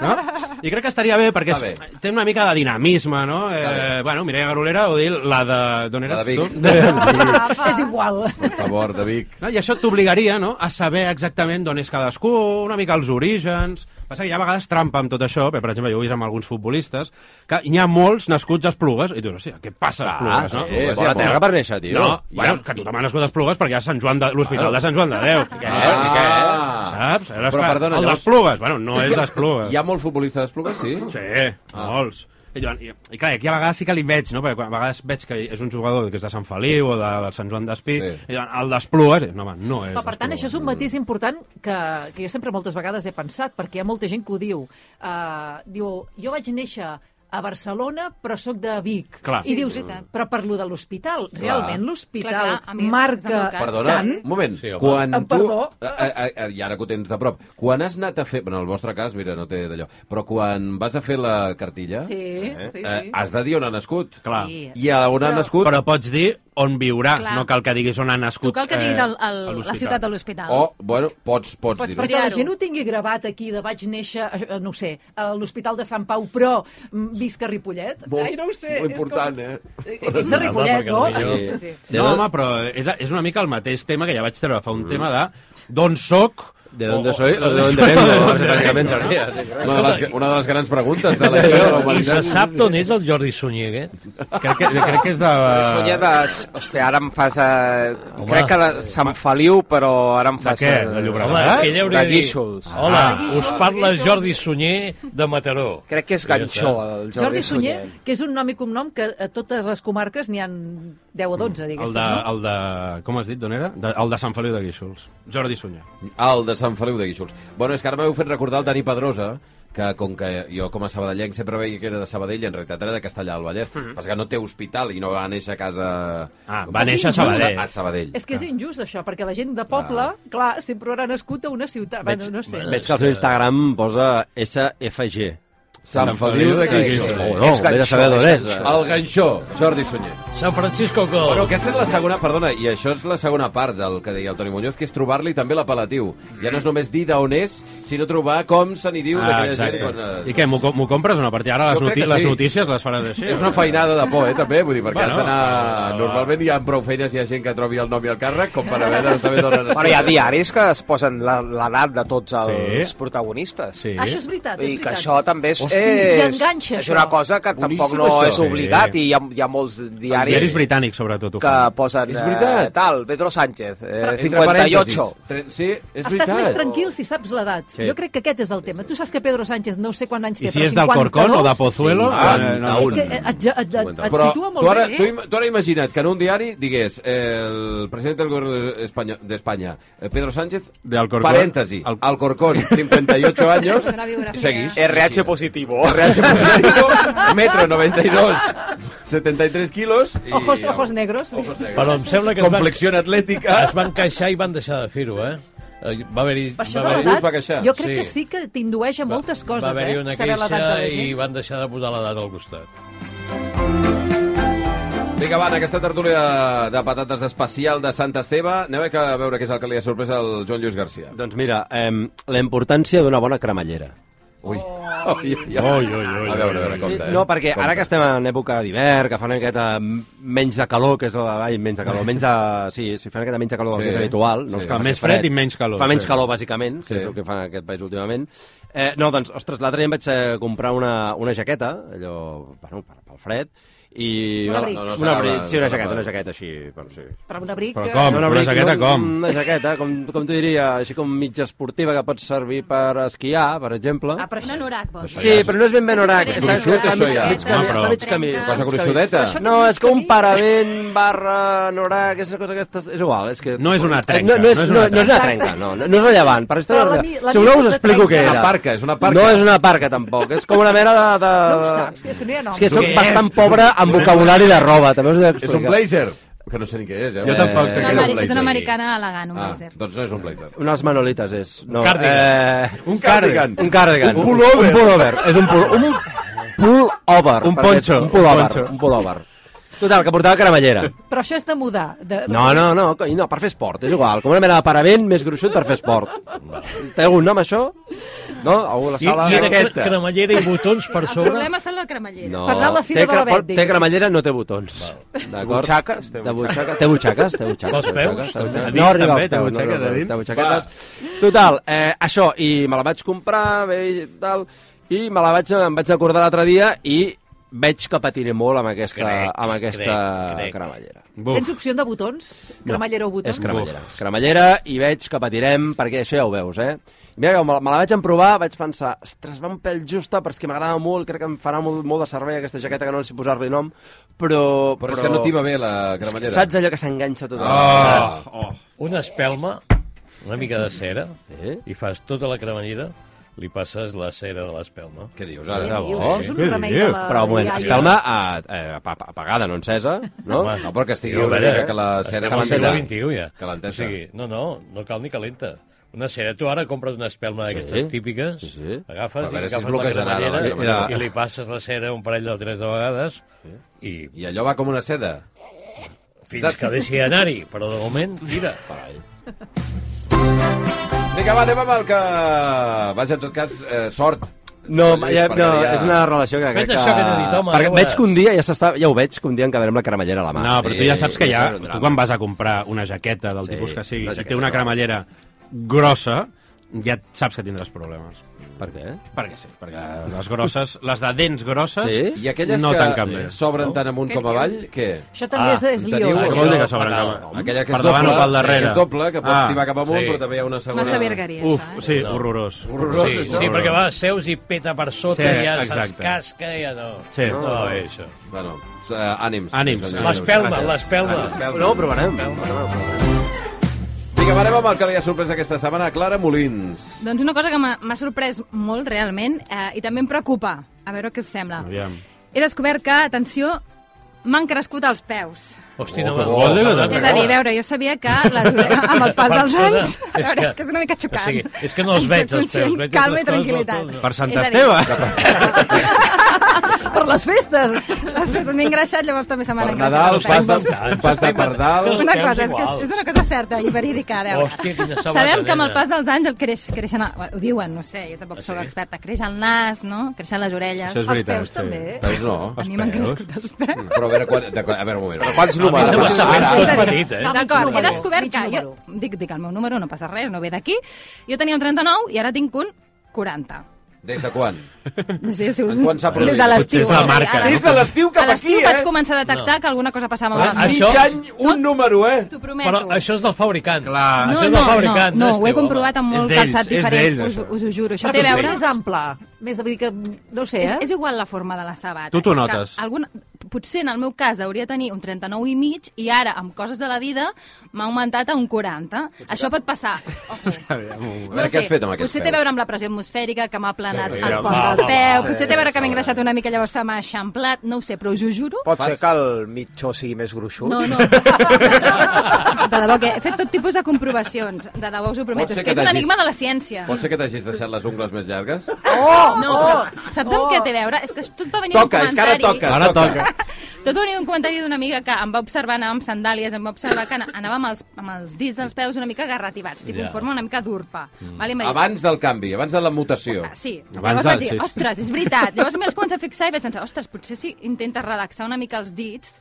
D: No? I crec que estaria bé perquè
B: Està bé.
D: és- té una mica de dinamisme, no? Eh, bueno, Mireia Garolera o dir la de...
B: La
D: D'on eres
B: de Vic.
D: tu? De...
C: és igual.
B: Per favor, de Vic.
D: No? I això t'obligaria no? a saber exactament d'on és cadascú, una mica els orígens... Passa que hi ha a vegades trampa amb tot això, perquè, per exemple, jo ho he vist amb alguns futbolistes, que n'hi ha molts nascuts a Esplugues, i tu, hòstia, què passa a Esplugues, no?
F: sí,
B: Esplugues,
F: bona
B: ja,
F: terra
B: bona.
F: per néixer, tio.
D: No,
F: Ja.
D: bueno, que tothom ha nascut a Esplugues perquè hi ha Sant Joan de l'Hospital de Sant Joan de Déu.
B: Ah.
D: Saps? Aleshores,
B: Però,
D: clar,
B: perdona,
D: el
B: llavors-
D: d'Esplugues, bueno, no és d'Esplugues.
B: Hi ha molt futbolista d'Esplugues, sí?
D: Sí, molts. I, Joan, i, I clar, aquí a vegades sí que li veig, no? Perquè quan- a vegades veig que és un jugador que és de Sant Feliu o de, del Sant Joan d'Espí,
B: Sí.
D: sí. i diuen, el d'Esplugues, no, home, no és
C: Però, per tant,
D: d'Esplugues.
C: això és un matís important que, que jo sempre moltes vegades he pensat, perquè hi ha molta gent que ho diu. Uh, diu, jo vaig néixer a Barcelona, però sóc de Vic.
D: Clar.
C: I
G: Sí,
C: dius,
G: és veritat.
C: però per lo de l'hospital, realment l'hospital
G: Clar, clar, a mi- és el
C: marca
G: meu cas.
B: Perdona,
C: tant...
B: un moment.
H: Sí, home.
B: quan
C: Ah,
B: tu...
C: perdó.
B: A, a, a, I ara que ho tens de prop. Quan has anat a fer... Bueno, en el vostre cas, mira, no té d'allò. Però quan vas a fer la cartilla,
C: Sí, sí,
B: eh,
C: sí.
B: has de dir on ha nascut.
D: Clar.
C: Sí.
B: I a on ha nascut...
D: Però pots dir on viurà,
G: Clar.
D: no cal que diguis on ha nascut.
G: Tu cal que diguis el, el,
D: Eh, a
G: la
D: l'hospital.
G: ciutat de l'hospital.
B: O, bueno, pots, pots,
G: Pots
B: dir-ho.
G: triar.
C: Perquè la
G: Triar-ho.
C: gent ho tingui gravat aquí de vaig néixer, eh, no ho sé, a l'Hospital de Sant Pau, però mm, visc a Ripollet.
B: Molt-
C: Ai, no ho sé.
B: molt
C: és
B: important, eh?
C: eh? Ets de Ripollet, no?
H: Home, perquè potser-
C: Sí, sí.
D: No, home, però és, és una mica el mateix tema que ja vaig treure fa un tema de d'on soc...
F: De dónde soy o de dónde vengo, bàsicament seria. sí, clar.
B: Una de, les, una de les grans preguntes de la història de Eh, la
H: I se
B: humanitat.
H: sap d'on és el Jordi Sunyer, aquest?
D: Crec que, crec que és de...
A: Sonia de... Hòstia, ara em fas... A...
H: Home.
A: Crec que de Sant Feliu, però ara em fas... eh,
D: què?
A: a-
D: De Llobregat?
H: Home, és que ell hauria
A: de
H: de dir...
A: Guíxols.
H: Hola,
D: Ah.
H: us parla Jordi Sunyer de Mataró.
A: Crec que és ganxó, el Jordi,
C: Jordi Sunyer, que és un nom i cognom que a totes les comarques n'hi han 10 o 12,
D: El
C: diguéssim.
D: de,
C: no?
D: el de... Com has dit, d'on era? De, el de Sant Feliu de Guíxols. Jordi Sunyer.
B: El de Sant Feliu de Guíxols. Bueno, és que ara m'heu fet recordar el Dani Pedrosa, que com que jo com a sabadellenc sempre veia que era de Sabadell, en realitat era de Castellà del Vallès. Mm -hmm. que no té hospital i no va néixer a casa...
D: Ah,
B: Com
D: va
B: es diu?
D: néixer a Sabadell.
B: A Sabadell.
C: És que és injust, això, perquè la gent de poble, clar, sempre haurà nascut a una ciutat. Veig, bueno, no sé.
F: Veig que al seu Instagram posa SFG.
B: Sant Feliu de Guíxols.
F: Oh, no,
A: És
F: vés a saber d'on és.
B: El ganxó, Jordi Sunyer.
H: San Francisco Col.
B: Però aquesta és la segona, perdona, i això és la segona part del que deia el Toni Muñoz, que és trobar-li també l'apel·latiu. Ja no és només dir d'on és, sinó trobar com se n'hi diu
D: Ah,
B: d'aquella gent. Quan, eh,
D: I què, m'ho co- m'ho compres o no? Perquè ara les,
B: Jo crec
D: noti
B: que
D: les
B: sí.
D: notícies les faràs així.
B: És una feinada de por, eh, també, vull dir, perquè bueno, has
D: Bueno,
B: d'anar... Normalment hi ha prou feines, hi ha gent que trobi el nom i el càrrec, com per haver de saber d'on
A: Bueno, hi ha eh, diaris que es posen la- l'edat de tots els
D: Sí.
A: protagonistes.
D: Sí.
C: Això és veritat, és
A: I que
C: veritat.
A: això també és,
C: Hosti,
A: és,
C: i enganxa,
A: és una
C: això.
A: cosa que tampoc
B: Boníssim,
A: no
B: això.
A: és obligat i hi ha, hi ha molts diaris,
D: Diaris britànics, sobretot, ho
A: que
D: fan.
A: posen
B: És veritat.
A: eh, tal, Pedro Sánchez, eh,
B: Entre
A: 58.
B: parèntesis. Tre- Sí, és
C: Estàs
B: veritat.
C: més tranquil si saps l'edat. Sí. Jo crec que aquest és el tema. Tu saps que Pedro Sánchez no sé quants anys té,
D: I si
C: però
D: és del Corcón o de Pozuelo...
B: Sí,
D: eh, no,
C: És que et, et, et, et, et
B: Però
C: situa
B: tu
C: molt
B: ara,
C: bé. eh?
B: tu, im- tu ara imagina't que en un diari digués eh, el president del govern espanyol- d'Espanya, eh, Pedro Sánchez,
D: De Alcorcón.
B: paréntesi,
D: Al-
B: Alcorcón, 58 años,
G: És una biografia.
B: i seguís.
A: RH positivo.
B: RH positivo, metro 92, 73 kilos. I,
C: Ojos, ojos negros.
B: Ojos negros.
H: Però em sembla que es van,
B: Complexión atlètica.
H: es van queixar i van deixar de fer-ho, eh? Eh, Va haver-hi...
C: Per això
H: va
C: de
B: us
H: haver-hi-
B: va
C: l'edat,
B: queixar?
C: jo crec
H: Sí.
C: que sí que t'indueix a moltes coses,
H: va haver-hi
C: eh?
H: una
C: Saber
H: queixa
C: l'edat de la
H: i
C: gent.
H: van deixar de posar l'edat al costat.
B: Vinga, va, en aquesta tertúlia de patates especial de Sant Esteve, anem a veure què és el que li ha sorprès al Joan Lluís Garcia.
F: Doncs mira, eh, la importància d'una bona cremallera.
B: Ui.
C: Oh,
B: Oi, oi, oi.
H: Oi, oi, oi,
B: A veure, a veure,
F: Sí,
B: compte, eh?
F: no, perquè
B: Compte.
F: ara que estem en època d'hivern, que fa una miqueta menys de calor, que és la... Ai, menys de calor, menys de... Sí, sí, fa una miqueta menys de calor
B: Sí.
F: sí. més habitual. No
B: Sí.
F: és
B: Fa
F: faci
D: més fred i menys calor,
F: Fa menys
D: sí.
F: calor, bàsicament, que
B: Sí.
F: és el que fa en aquest país últimament. Eh, no, doncs, ostres, l'altre dia em vaig eh, comprar una, una jaqueta, allò, bueno, per- pel fred, i...
C: Un abric.
B: No, no,
F: un
B: s'acaba,
F: abric, sí, una
B: s'acaba.
F: jaqueta, una jaqueta així, bueno, sí.
C: Però un abric...
D: Però
C: eh,
D: com?
F: No,
D: Una
F: abric,
D: jaqueta
F: no,
D: com?
F: Una jaqueta, com, com t'ho diria, així com mitja esportiva que pot servir per esquiar, per exemple.
C: Ah, però
G: Un
C: això...
G: anorac, vols
F: Sí, però no és ben ben orac.
G: És
F: Està,
G: gruixut,
F: està,
B: això,
F: mig,
B: ja.
F: mig camí,
D: Ah, però-
F: està mig camí.
G: Trenca.
B: Vas a
F: Mig camí.
B: gruixudeta?
F: No, és que un parament barra anorac, és una cosa que estàs... És igual, és que... Eh,
D: No és una trenca,
F: No, no, és,
D: no és
F: no,
D: una
F: no és una trenca, no, no, no és rellevant. Per això
C: Però
F: no
C: la
F: és
C: mi-
F: rellevant.
C: la
F: si voleu
C: mi-
F: us explico
C: trenca.
F: què era.
B: Una parca, és una parca.
F: No és una parca, tampoc. És com una mera de... de...
C: No ho saps, és que no hi ha nom.
F: Eh, És que soc
D: Què és?
F: bastant pobre amb vocabulari de roba, també us he
B: És un
F: d'explicar.
B: blazer, que no sé ni què és, eh?
D: Jo tampoc sé
G: És
D: què
G: una,
B: un
G: ameri- és
B: blazer.
G: una americana elegant, un
B: Ah,
G: blazer.
B: doncs no és un blazer.
F: Unes manolites, és. No,
D: cardigan.
F: Eh,
B: Un cardigan.
F: Un cardigan.
B: Un pullover.
F: Un pullover. És un pull... Un pullover.
D: Un
F: perquè
D: poncho,
F: és Un pullover.
D: un
F: Un
D: poncho.
F: pullover. Total, que portava caramellera.
C: Però això és de mudar. De...
F: No, no, no, coi, no, per fer esport, és igual. Com una mena de paravent més gruixut per fer esport. Té algun nom, això? No? Algú a la
H: I,
F: sala?
H: i una
B: jaqueta.
H: cre- cremallera i botons per
G: El
H: sobre.
G: problema està en la cremallera.
F: No.
C: Per anar a la fira
F: té,
C: de la
F: cre-
C: Bet,
F: Té
C: diguéssim.
F: cremallera, no té botons. D'acord?
A: Butxaques? Té
F: Té butxaques. Té butxaques, té butxaques.
H: Pels
F: té
H: peus?
F: butxaques, té
H: A
F: butxaques.
D: dins
F: No arriba
D: també,
F: als
D: té
F: peus,
D: butxaques
F: no, no,
D: a dins?
F: Té butxaquetes. Total, eh, això, i me la vaig comprar, bé, i tal, i me la vaig, em vaig acordar l'altre dia i veig que patiré molt amb aquesta,
H: Crec,
F: amb aquesta
H: crec, crec.
F: cremallera.
D: Buf.
C: Tens opció de botons? Cremallera o botons?
F: És cremallera. És cremallera i veig que patirem, perquè això ja ho veus, eh? I Mira, que me la- me la vaig emprovar, vaig pensar, ostres, va un pèl justa, però és que m'agrada molt, crec que em farà molt, molt de servei aquesta jaqueta que no sé posar-li nom, però...
B: Però és que no t'hi va bé la cremallera.
F: Saps allò que s'enganxa tot?
D: Oh, oh.
H: Una espelma, una mica de cera,
F: Eh?
H: i fas tota la cremallera, li passes la cera de l'espelma.
B: Què dius, ara?
F: Què
C: Dius,
F: Oh,
C: això és un
D: què
C: remei
D: dius?
C: de la...
F: Però, un moment,
C: iaia.
F: espelma a, eh, apa- apa- apagada, no encesa, no?
H: Home.
B: No, però que estigui
H: Jo,
B: una
H: vaja,
B: mica que la cera...
H: Estem al
F: calenta.
H: segle XXI, ja.
B: Calenteta.
H: O sigui, no, no, no cal ni calenta. Una cera. Tu ara compres una espelma d'aquestes
F: Sí,
H: típiques,
F: sí, sí.
H: agafes
B: A veure
H: i
B: si és
H: agafes la
B: bloquejada, la
H: cremallera
B: cremallera.
H: i li passes la cera un parell o tres de vegades i
B: I allò va com una seda.
H: fins que deixi d'anar-hi, però de moment, mira.
B: Vinga, va, anem amb el que... Vaja, en tot cas, eh, sort.
F: No,
B: Lluís,
F: ja,
B: perquè
F: no, és una relació que crec
H: Fes això que no he dit, home,
F: perquè
H: no ho
F: veig
H: era.
F: que un dia ja s'està... Ja ho veig, que un dia encadarem la cremallera a la mà.
D: No, però tu ja
B: sí,
D: saps que
F: sí,
D: ja,
F: sí,
D: tu quan vas a comprar una jaqueta del
F: Sí,
D: tipus que sigui
F: una
D: i
F: jaqueta,
D: té una
F: no.
D: cremallera grossa, ja saps que tindràs problemes.
F: Per què?
D: Perquè sí, perquè les grosses, les de dents grosses,
F: Sí?
B: I aquelles
D: no
B: que
D: tanquen bé.
B: s'obren tant amunt
G: Què
B: com avall,
G: dius?
B: què?
C: Això també
D: Ah,
C: és, és
B: en
C: lió.
B: teniu?
C: això.
D: Què vol dir que s'obren
H: Això-
D: cap-
B: Aquella que és
D: per davant
B: doble,
D: o pel darrere?
B: que és doble, que pots
D: Ah,
B: tirar cap amunt,
H: sí.
B: però també hi ha una segona...
G: Massa vergueria,
D: Uf,
G: això, eh?
D: sí,
H: No.
D: horrorós.
B: Horrorós,
H: Sí,
B: això.
H: sí, perquè va, seus i peta per sota,
D: Sí,
H: sí, ja
D: exacte.
H: s'escasca, ja no.
D: Sí.
H: No va bé, això.
B: Bueno, eh, ànims.
D: Ànims.
B: senyor.
H: L'espelma,
B: Gràcies.
H: l'espelma.
B: Ànims, espelma.
F: No, ho provarem. Ho provarem.
B: Vinga, va, anem amb el que li ha sorprès aquesta setmana a Clara Molins.
G: Doncs una cosa que m'ha m'ha sorprès molt, realment, eh, i també em preocupa. A veure què us sembla.
D: Aviam.
G: He descobert que, atenció, m'han crescut els peus.
H: Hosti, no
B: Oh,
H: me-
B: que vol,
H: no
D: eh,
H: me-
D: que
G: És a dir, a veure, jo sabia que les ore- amb el pas dels
H: Perdona,
G: anys... A veure, és que és una mica xocant.
H: O sigui, és que no els
G: En soc
H: veig, els peus.
G: conscient.
H: Veig
G: Calma i
H: altres coses,
G: tranquil·litat.
H: no, no.
D: Per Sant
G: És a dir,
D: Esteve?
C: Per les festes!
G: Les festes m'he engreixat, llavors també se m'han
B: Per
G: engreixat
B: Nadal,
G: els
B: pas
G: peus.
B: de,
H: Tant,
B: pas de
H: estem-
B: pardal...
H: els
G: Una
H: peus
G: cosa, és, que
H: iguals.
G: és, és una cosa certa i verídica, a veure.
H: Hòstia, quina sabata,
G: Sabem que amb el
H: nena.
G: pas dels anys el creix, creixen... el- Ho diuen, no sé, jo tampoc sóc experta. Creix el nas, no? Creixen les orelles.
D: Això és
C: Els
D: veritat,
C: peus
D: sí.
C: també.
B: Peus no.
G: A mi m'han crescut els peus.
B: Però a veure, quan, de, a veure un moment. Però
A: Quants
H: A mi se
A: números?
H: m'està fent
G: És a
H: tot
G: dir,
H: petit, eh?
G: D'acord, he
C: número,
G: descobert
C: mig
G: que jo...
C: número.
G: Dic, dic el meu número, no passa res, no ve d'aquí. Jo tenia un 39 i ara tinc un 40.
B: Des de quan?
G: No sé si us...
B: En quan s'ha
G: Des
B: produït?
G: de
D: Potser
G: l'estiu.
D: és la marca,
G: A
D: no?
G: l'estiu-
A: Des de l'estiu cap
G: a l'estiu
A: aquí,
G: vaig
A: eh?
G: començar a detectar que alguna cosa passava malament.
H: això-
B: Mig any, un número, eh?
G: T'ho prometo.
H: Però això és del fabricant. Clar.
G: No,
H: Això és
G: no,
H: del fabricant.
G: no, no,
H: és
G: ho he
H: teu,
G: comprovat amb
D: És
G: molt
D: d'ells,
G: calçat
D: és
G: diferent,
D: d'ells,
G: us,
D: això.
G: us ho juro. Això
B: Ah,
C: Però
G: té a veure...
C: Més ample. Més, vull dir que, no ho sé,
G: És,
C: eh?
G: és igual la forma de la sabata.
D: Tu t'ho
G: És que
D: notes.
G: Alguna, potser en el meu cas hauria de tenir un 39 i mig i ara, amb coses de la vida, m'ha augmentat a un 40. Això pot passar. Ojo.
B: A veure, què has fet amb aquests peus?
G: potser té a veure amb la pressió atmosfèrica, que m'ha planat
B: Sí,
G: el
B: home,
G: pont
B: home,
G: del peu,
B: sí,
G: potser té a veure que m'he
B: segurament.
G: engreixat una mica, llavors se m'ha eixamplat, no ho sé, però us ho juro.
A: Pot ser que el mitjó sigui més gruixut?
G: No, no. De debò, que he fet tot tipus de comprovacions. De debò, us ho prometo.
B: ser
G: És
B: que
G: que és un
B: t'hagis-
G: enigma de la ciència.
B: Pot ser que t'hagis deixat les ungles més llarges?
G: Oh, no, però saps amb què té a veure? És que tot va venir
B: oh. Toca,
G: un
B: és que ara
G: comentari.
B: toca.
D: Ara toca.
G: Tot venia un comentari d'una amiga que em va observar, anàvem amb sandàlies, em va observar que anava amb els, amb els dits dels peus una mica garrativats, tipus
H: Ja.
G: yeah. en forma una mica d'urpa. Mm. Vale? I em va dir,
B: Abans del canvi, abans de la mutació.
G: Ah, Sí,
D: Abans
G: llavors vaig
D: del-
G: dir,
D: sí.
G: ostres, és veritat. Llavors me'ls començo a fixar i vaig pensar, ostres, potser si intentes relaxar una mica els dits,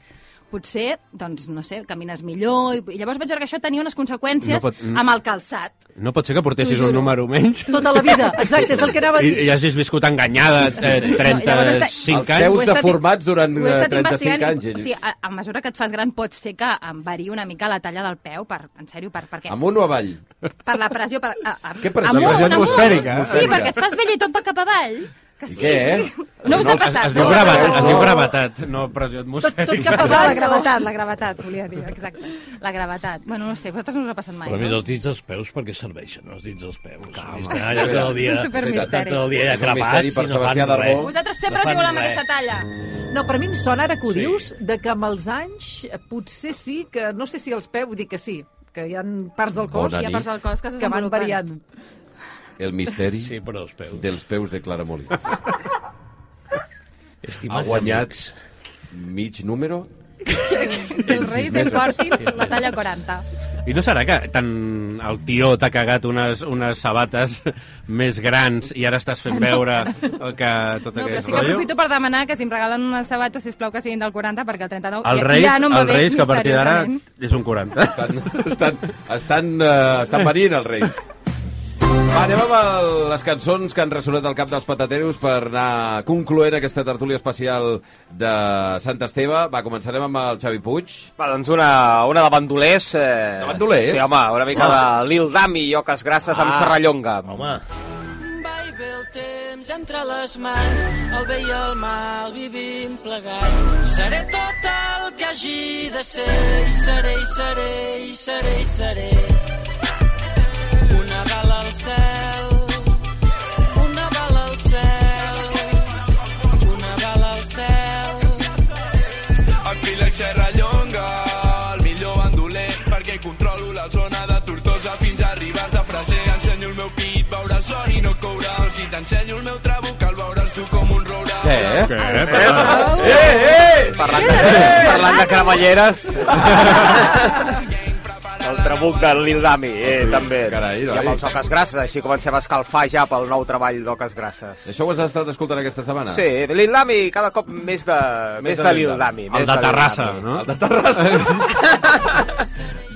G: potser, doncs, no sé, camines millor. I llavors vaig veure que això tenia unes conseqüències
D: No pot-
G: amb el calçat.
D: No pot ser que portessis
G: T'ho
D: un
G: juro.
D: número menys
C: Tota la vida, exacte, és el que anava a
D: i,
C: dir.
D: i hagis viscut enganyada eh,
G: llavors està-
D: 35
B: Els peus
D: anys.
G: Ho he estat-
B: deformats durant,
G: ho he estat
B: eh, 35
G: investigant i-
B: anys, ell.
G: O sigui, a, a mesura que et fas gran pot ser que em variï una mica la talla del peu, per, en sèrio, per, per, què?
B: Amunt o avall?
G: per la pressió... Per, a, a,
B: Què pressió?
G: amunt,
D: Pressió
G: amunt.
D: atmosfèrica, eh?
G: Sí, perquè et fas vell i tot va cap avall. Que
B: I
G: sí.
B: què, eh?
G: No us ha
D: Es,
G: passat.
D: es, diu
G: no us ha
D: gravetat,
G: passat?
D: es diu gravetat, no
C: Tot,
D: pressió atmosfèrica.
C: tot cap
G: Això, la
C: avall,
G: gravetat, la gravetat, volia dir, exacte. La gravetat. Bueno, no ho sé, a vosaltres no us ha passat mai,
H: Però a més,
G: no?
H: els dits dels peus, per què serveixen, els dits dels peus? Calma. Allà tot el dia,
G: És un supermisteri.
H: tot el dia allà
B: És un misteri
H: crepats
B: per
H: i no
B: Sebastià
H: fan res.
B: Darbó.
G: Vosaltres sempre
H: No fan
G: teniu la
H: res.
G: mateixa talla.
C: No, però a mi em sona ara que ho
H: Sí.
C: dius, de que amb els anys eh, potser sí que... No sé si els peus, dic que sí, que hi ha parts
D: Oh,
C: del cos
B: Bona
G: Hi ha
B: nit.
G: parts del cos que es
C: que van
G: desenvolupen.
C: variant.
B: El misteri
H: Sí, però els peus.
B: dels peus de Clara Molins. Ha
H: Estimats
B: guanyat
H: amics.
B: mig número
G: Del Reis en Cortin, la talla 40.
D: I no serà que tant el tió t'ha cagat unes, unes sabates més grans i ara estàs fent veure el que tot
G: No, però
D: aquest
G: sí que aprofito per demanar que si em regalen unes sabates, sisplau, que siguin del 40, perquè el 39
D: El
G: ja-
D: Reis,
G: ja no em va
D: el
G: bé,
D: Reis que a partir d'ara
G: misteriosament.
D: és un 40.
B: estan, estan, estan, uh, estan venint els Reis. Va, anem amb el, les cançons que han ressonat al cap dels patateros per anar concloent aquesta tertúlia especial de Sant Esteve. Va, començarem amb el Xavi Puig.
A: Va, doncs una, una de bandolers... Eh...
B: De bandolers? Ah.
A: Sí, home, una mica de Lil Dami i Oques Grasses amb Serrallonga.
H: Home,
E: Va i ve el temps entre les mans, el bé i el mal vivim plegats. Seré tot el que hagi de ser, i seré, i seré, i seré, i seré. Una bala al cel, una bala al cel, una bala al cel.
I: El Fílex Serrallonga, el millor bandoler, perquè controlo la zona de Tortosa fins a Ribes de Freser. Ensenyo el meu pit, veuràs son i no caurà. Si t'ensenyo el meu trabuc, el veuràs tu com un roure.
B: Què, eh?
D: Què? Ah.
A: Parlant de, parlant de cremalleres... El trabuc del Lil Dami, eh, també.
B: Carai, noi.
A: I amb els Oques Grasses, així comencem a escalfar ja pel nou treball d'Oques Grasses.
B: Això ho has estat escoltant aquesta setmana?
A: Sí, Lil Dami, cada cop més de, més de Lil Dami. més
D: El de
A: Lil
D: Terrassa,
A: Dami.
D: no?
B: El de Terrassa.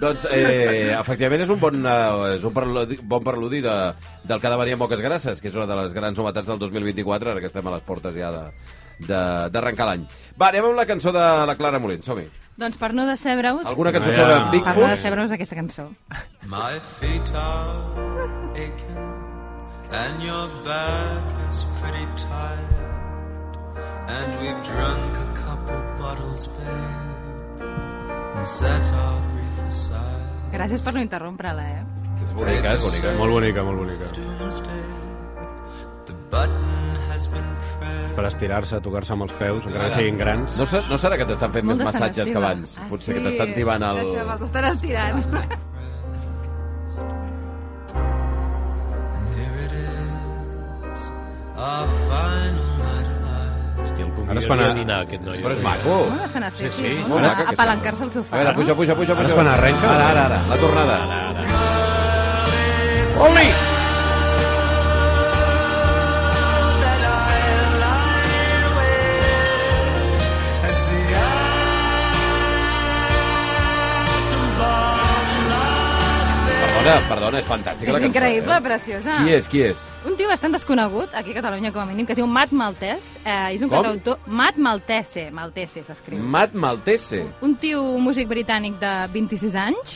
B: doncs, eh, efectivament, és un bon, eh, és un preludi, bon preludi de, del que ha de venir a Moques Grasses, que és una de les grans novetats del 2024, ara que estem a les portes ja de de- d'arrencar l'any. Va, anem amb la cançó de la Clara Molins, som-hi.
G: Doncs per no decebre-us,
B: Alguna cançó
D: Ja.
B: sobre
G: per no
B: Bigfoot?
G: decebre-us aquesta cançó.
I: My feet are aching and your back is pretty tired and we've drunk a couple bottles, babe, and set our grief aside.
G: Gràcies per no interrompre-la, eh?
B: És bonica, és bonica.
D: Molt bonica, molt bonica.
I: Doomsday, the button has been pressed.
D: Per estirar-se, tocar-se amb els peus, encara que siguin grans.
B: No, se- no serà que t'estan fent
G: Molt
B: més
G: de Sant
B: massatges que
G: Esteve.
B: abans?
G: Ah,
B: Potser
G: sí?
B: que t'estan tibant el...
G: Això, me'ls estan estirant.
I: And here it is, our final night out.
H: hosti, el
D: Ara és
H: convidaria
D: quan
H: a
D: a-
H: dinar, aquest noi.
B: Però és maco.
G: Molt de Sant Esteve,
H: Sí, sí,
G: no?
B: Oh. molt
G: Anar
B: maca
G: a
B: aquesta.
G: Apalancar-se al sofà,
B: A veure,
G: no?
B: puja, puja, puja.
D: Ara és
B: puja.
D: quan arrenca?
B: Ara, ara, ara, la tornada.
A: Oli!
B: Perdona, perdona, és fantàstica la
G: És
B: cançó. eh?
G: increïble, preciosa.
B: Qui és, qui és?
G: Un tio bastant desconegut, aquí a Catalunya com a mínim, que es diu Matt Maltès. Eh, és un
B: Com?
G: cantautor... Matt Maltese, Maltese s'escriu.
B: Matt Maltese.
G: un tio un músic britànic de 26 anys,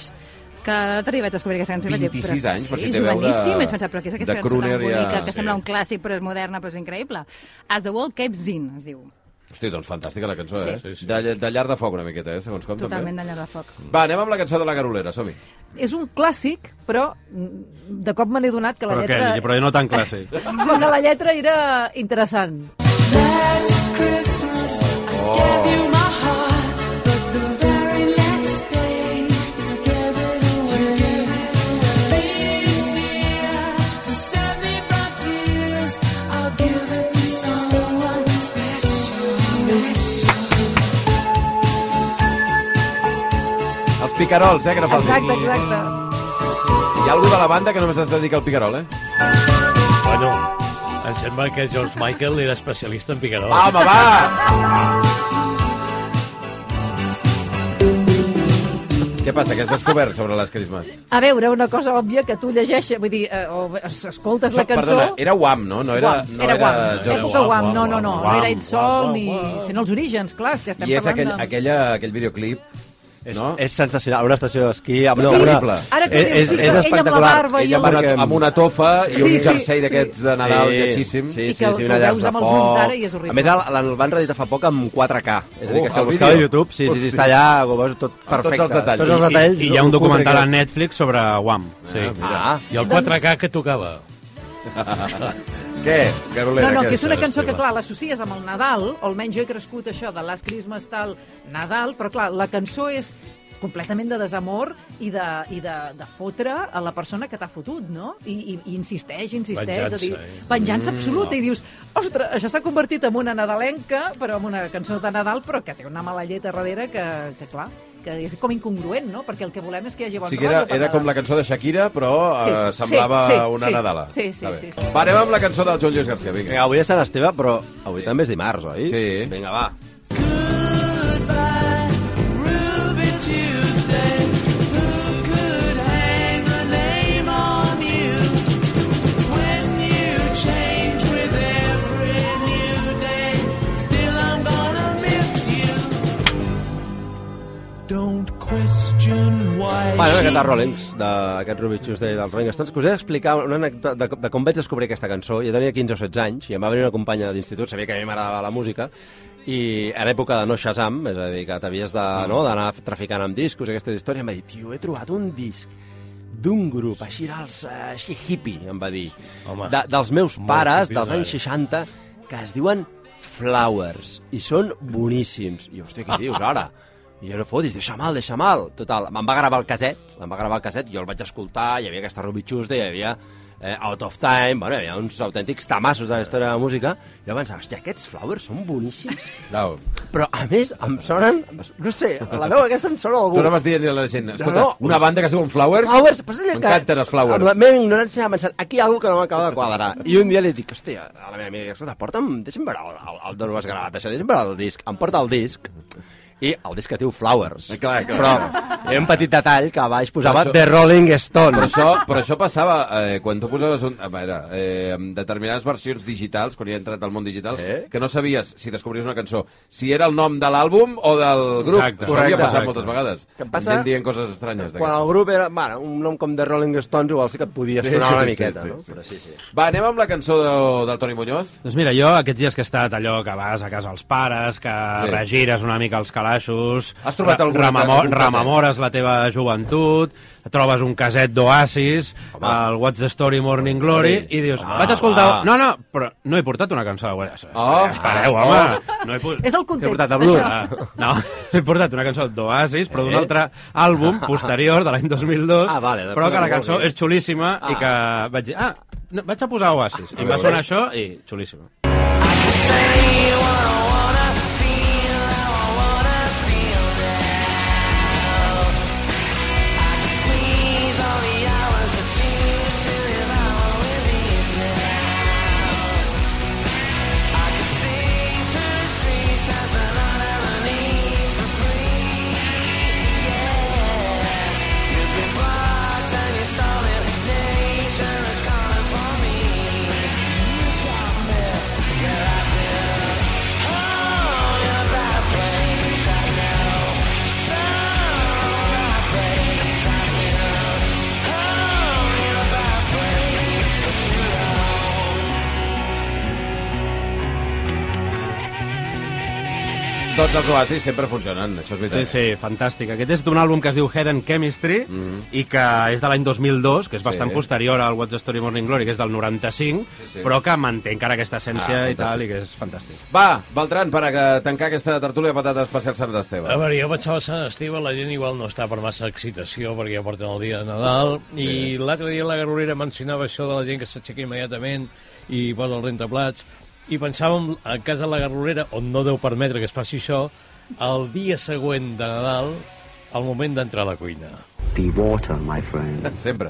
G: que l'altre dia vaig descobrir aquesta cançó. i vaig dir,
B: 26
G: però
B: anys,
G: sí,
B: però si
G: és
B: té veu de-
G: joveníssim, vaig pensar, però què és aquesta
B: de
G: cançó tan
B: crooner ja,
G: bonica, que
B: sí.
G: sembla un clàssic, però és moderna, però és increïble. As the World Cape Zin, es diu.
B: Hosti, doncs fantàstica la cançó,
G: Sí.
B: eh? De, de llar de foc una miqueta, eh? Segons com,
G: Totalment de llar de foc.
B: també. Va, anem amb la cançó de la Garolera, som-hi.
C: És un clàssic, però mm, de cop me n'he donat que la
D: Però què?
C: lletra...
D: Però no tan clàssic.
C: Però que la lletra era interessant.
E: Last Christmas, I gave you my heart, but the very next day, you gave it away. This year, to save me from tears, I'll give it to someone special, special.
B: Picarols, eh, que no falti.
C: Exacte,
B: Hi
C: exacte.
B: ha algú de la banda que només es dedica al picarol, eh?
H: Bueno, em sembla que George Michael era especialista en picarol.
B: Va, home, va! Què passa, que has descobert sobre les Christmas?
C: A veure, una cosa òbvia que tu llegeixes, vull dir, eh, o es- escoltes la cançó...
B: Perdona, era Wham, no? No era,
C: Guam,
B: no
C: era guam, era
B: George
C: època
H: Guam,
C: guam,
H: guam,
C: no, no, no,
H: guam,
C: no era
H: guam,
C: Insol
H: guam,
C: ni...
H: guam.
C: Sent els orígens, clar, és que estem
B: I és aquell,
C: parlant de...
B: aquella, aquell videoclip, no?
F: És sensacional, una estació d'esquí amb
B: Sí. Horrible.
C: Ara que ho dius,
F: és,
C: sí,
F: és,
C: ella amb la
F: espectacular.
C: barba i
B: Ella
F: Ella
B: amb
F: amb,
B: una, amb una tofa i un
C: Sí, sí,
B: jersei
C: sí.
B: d'aquests de Nadal sí. lletxíssim.
C: I que el- que el veus amb els ulls d'ara i és horrible.
F: A més, el, el van reeditar fa poc amb 4K. És a dir,
B: Oh,
F: que si
B: el
F: el buscava a
B: vídeo?
F: YouTube, sí, sí, sí,
B: Hosti.
F: està allà, ho veus tot perfecte.
B: els detalls.
F: Tots els detalls.
D: I, I hi ha un
F: ho
D: documental a
F: publica.
D: Netflix sobre Guam. Sí.
F: Ah,
H: I el 4K que tocava.
B: Què, Carolina?
C: No, no,
B: què
C: que és una
B: estàs
C: cançó que,
B: estimant?
C: clar, l'associes amb el Nadal, o almenys jo he crescut això de Last Christmas tal Nadal, però, clar, la cançó és completament de desamor i de, i de, de fotre a la persona que t'ha fotut, no? I, i, i insisteix, insisteix,
H: Venjança,
C: és a dir,
H: eh?
B: Mm.
C: venjança absoluta, i dius, ostres, això s'ha convertit en una nadalenca, però en una cançó de Nadal, però que té una mala llet a darrere que, que clar, que és com incongruent, no? Perquè el que volem és que hi hagi
B: O
C: bon
B: sigui, era,
C: rotllo. per
B: era com la cançó de Shakira, però sí, eh, semblava sí, sí, una
C: sí.
B: Nadala.
C: Sí, sí,
B: Està bé.
C: sí, sí.
B: Va, anem amb la cançó del Joan Lluís García, vinga.
F: Vinga, avui és Sant Esteve, però avui també és dimarts, oi?
B: Sí.
F: Vinga, va.
E: Goodbye, Ruby Tuesday. Who could hang the name on you when you change with every new day? Still, I'm gonna miss you. Don't question why.
F: Va, no, aquest de Rollins, d'aquest Ruby Tuesday dels Rolling Stones, que us he d'explicar una anècdota de, de com vaig descobrir aquesta cançó. Jo tenia 15 o 16 anys i em va venir una companya de l'institut, sabia que a mi m'agradava la música, i en època de no Shazam, és a dir, que t'havies de, no, d'anar traficant amb discos, aquestes històries, em va dir, tio, he trobat un disc d'un grup així, dels, eh, així hippie, em va dir,
H: Home.
F: de, dels meus
H: Molt
F: pares,
H: hippie, eh?
F: dels anys
H: mare.
F: 60, que es diuen Flowers, i són boníssims. I jo, hòstia, què dius ara? I jo no fotis, deixa mal, deixa mal. Total, me'n va gravar el caset, em va gravar el caset, jo el vaig escoltar, hi havia aquesta Ruby Tuesday, hi havia eh, Out of Time, bueno, hi havia uns autèntics tamassos de la història de la música, i jo pensava, hòstia, aquests Flowers són boníssims,
B: No,
F: però a més em sonen, no sé, la veu aquesta em sona
B: tu
F: algú.
B: no vas dir a la gent, escolta,
F: no.
B: una banda que es diuen Flowers,
F: Flowers, passa allò que...
B: m'encanten els Flowers.
F: Amb La meva ignorància ha pensat, aquí hi ha alguna que no m'acaba de quadrar. I un dia li dic, hòstia, a la meva amiga, escolta, porta'm, deixa'm veure el, el, el d'on ho has gravat, això, deixa'm veure el disc. Em porta el disc, i el disc es diu Flowers.
B: Eh, clar, clar.
F: Però hi ha un petit detall que a baix posava
B: Però això-
F: The Rolling Stones.
B: Però això, però això passava eh, quan tu posaves un, a veure, eh, amb determinades versions digitals, quan hi ha entrat al món digital,
F: Eh?
B: que no sabies si descobries una cançó, si era el nom de l'àlbum o del grup.
D: Exacte.
B: això havia
F: Correcte.
B: passat
D: Correcte.
B: moltes vegades.
F: Que em passa-
B: Gent dient coses estranyes.
F: Quan
B: d'aquestes.
F: el grup era, bueno, un nom com The Rolling Stones, igual sí que et podia
B: Sí,
F: sonar
B: sí,
F: una
B: sí,
F: miqueta,
B: sí,
F: no?
B: sí.
F: Però sí, sí.
B: Va, anem amb la cançó de, del Toni Muñoz.
D: Doncs mira, jo aquests dies que he estat allò que vas a casa els pares, que
B: Bé.
D: regires una mica els calaixos,
B: Has trobat
D: re-
B: alguna-
D: rememo-
B: algun caset?
D: rememores la teva joventut, trobes un caset d'Oasis, el What's the Story Morning Glory, i dius,
B: Ah.
D: vaig a escoltar...
F: va.
D: No, no, però no he portat una cançó d'Oasis.
B: Oh.
D: Espereu, home! No he pos-
C: És el context,
F: portat el
C: això.
F: blues.
D: Ah, No, he portat una cançó d'Oasis, però d'un
B: Eh?
D: altre àlbum posterior de l'any 2002,
F: Ah, vale, de
D: però que la
F: Pure
D: cançó
F: Glory.
D: és xulíssima i
F: Ah.
D: que vaig dir, ah, no, vaig a posar Oasis. I em va
B: veure.
D: sonar això i xulíssima.
E: Squeeze all the hours that you silly hour with these now. I can sing to the trees as an underneath for free. Yeah. You've been blocked and you stole it. Nature is calling for me. You got me. Yeah, I've been. Oh, you're that place I know. So my face I've been. Oh, you're that place that you own.
B: Tots els oasis sempre funcionen, això és
D: Sí,
B: veritat.
D: sí, fantàstic. Aquest és d'un àlbum que es diu Head and Chemistry i que és de l'any 2002, que és bastant posterior al What's the Story Morning Glory, que és del 95,
B: sí.
D: però que manté encara aquesta essència
B: Ah,
D: i tal, i que és fantàstic.
B: Va, Beltran, per a que- tancar aquesta tertúlia de patates especial Sant Esteve.
H: A veure, jo pensava Sant Esteve, la gent igual no està per massa excitació perquè ja porten el dia de Nadal i l'altre dia la Garolera mencionava això de la gent que s'aixeca immediatament i posa el rentaplats i pensàvem a casa de la Garolera, on no deu permetre que es faci això, el dia següent de Nadal al moment d'entrar a la cuina.
J: Be water, my friend.
B: Sempre.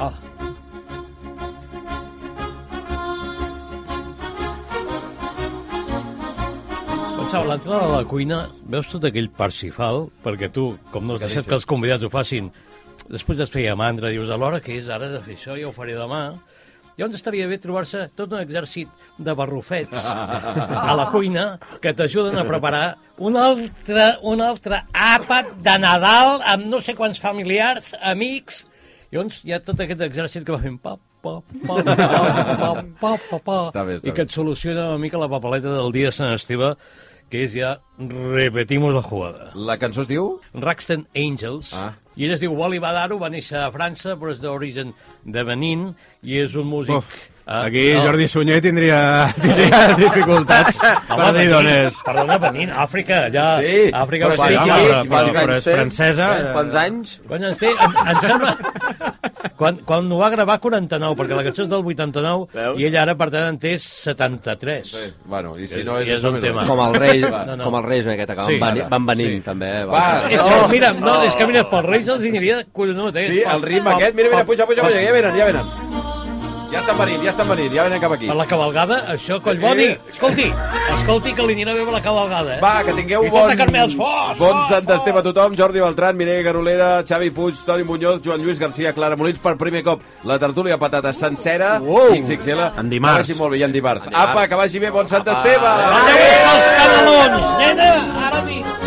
H: Ah. Pensava, l'entrada a la cuina, veus tot aquell parsifal, perquè tu, com no has deixat que els convidats ho facin, després es feia mandra, dius, a l'hora que és ara de fer això, ja ho faré demà. Llavors estaria bé trobar-se tot un exèrcit de barrufets a la cuina que t'ajuden a preparar un altre, un altre àpat de Nadal amb no sé quants familiars, amics... Llavors hi ha tot aquest exèrcit que va fent pa, pa, pa, pa, pa, pa, pa, pa,
B: Està bé, està
H: i
B: bé.
H: que et soluciona una mica la papeleta del dia de Sant Esteve, que és ja repetimos la jugada.
B: La cançó es diu?
H: Raxton Angels.
B: Ah.
H: I ell es diu Wally Badaro, va néixer a França, però és d'origen de Benín, i és un músic... eh,
D: Uf, Aquí Jordi Sunyer tindria, tindria dificultats per dir d'on és.
H: Perdona, Benín, Àfrica, allà...
B: eh? Sí,
H: Àfrica
B: però
H: Occidental.
B: sí,
D: però,
B: sí,
D: però,
B: sí,
D: però és
A: sí.
D: francesa.
A: Eh, Quants anys?
H: Quan ens té, em, em sembla... Quan, quan ho va gravar, 49, perquè la cançó és del 89,
A: Veus?
H: i ell ara, per tant, en té 73.
B: Sí. Bueno, i si
H: És-
B: no és...
H: i és un
B: això,
H: tema.
B: mira.
F: Com el rei,
H: No, no.
F: com el rei, és una miqueta, que van,
H: Sí.
F: venir, van venint,
H: Sí.
F: també. eh,
B: Va,
H: És que, mira, no, és que mira, pels Reis els hi aniria collonut, eh?
B: Sí, el ritme
H: Pel-
B: aquest, mira, mira,
H: pel-
B: puja, puja, puja, ja venen, ja venen. Ja estan venint, ja estan venint, ja venen cap aquí.
H: Per la cabalgada, això, Collboni, escolti, escolti que li anirà bé per la cabalgada, eh?
B: Va, que tingueu
H: I
B: bon...
H: tota Carmels, fort,
B: bon
H: fort,
B: Sant
H: fort.
B: Esteve a tothom, Jordi Beltran, Mireia Garolera, Xavi Puig, Toni Muñoz, Joan Lluís Garcia, Clara Molins, per primer cop la tertúlia patata sencera,
D: Uau.
B: XXL.
D: En dimarts.
B: Que vagi molt bé, i en dimarts. Apa, que vagi bé, bon Sant Esteve!
H: Adéu, els canelons, nena, ara dic.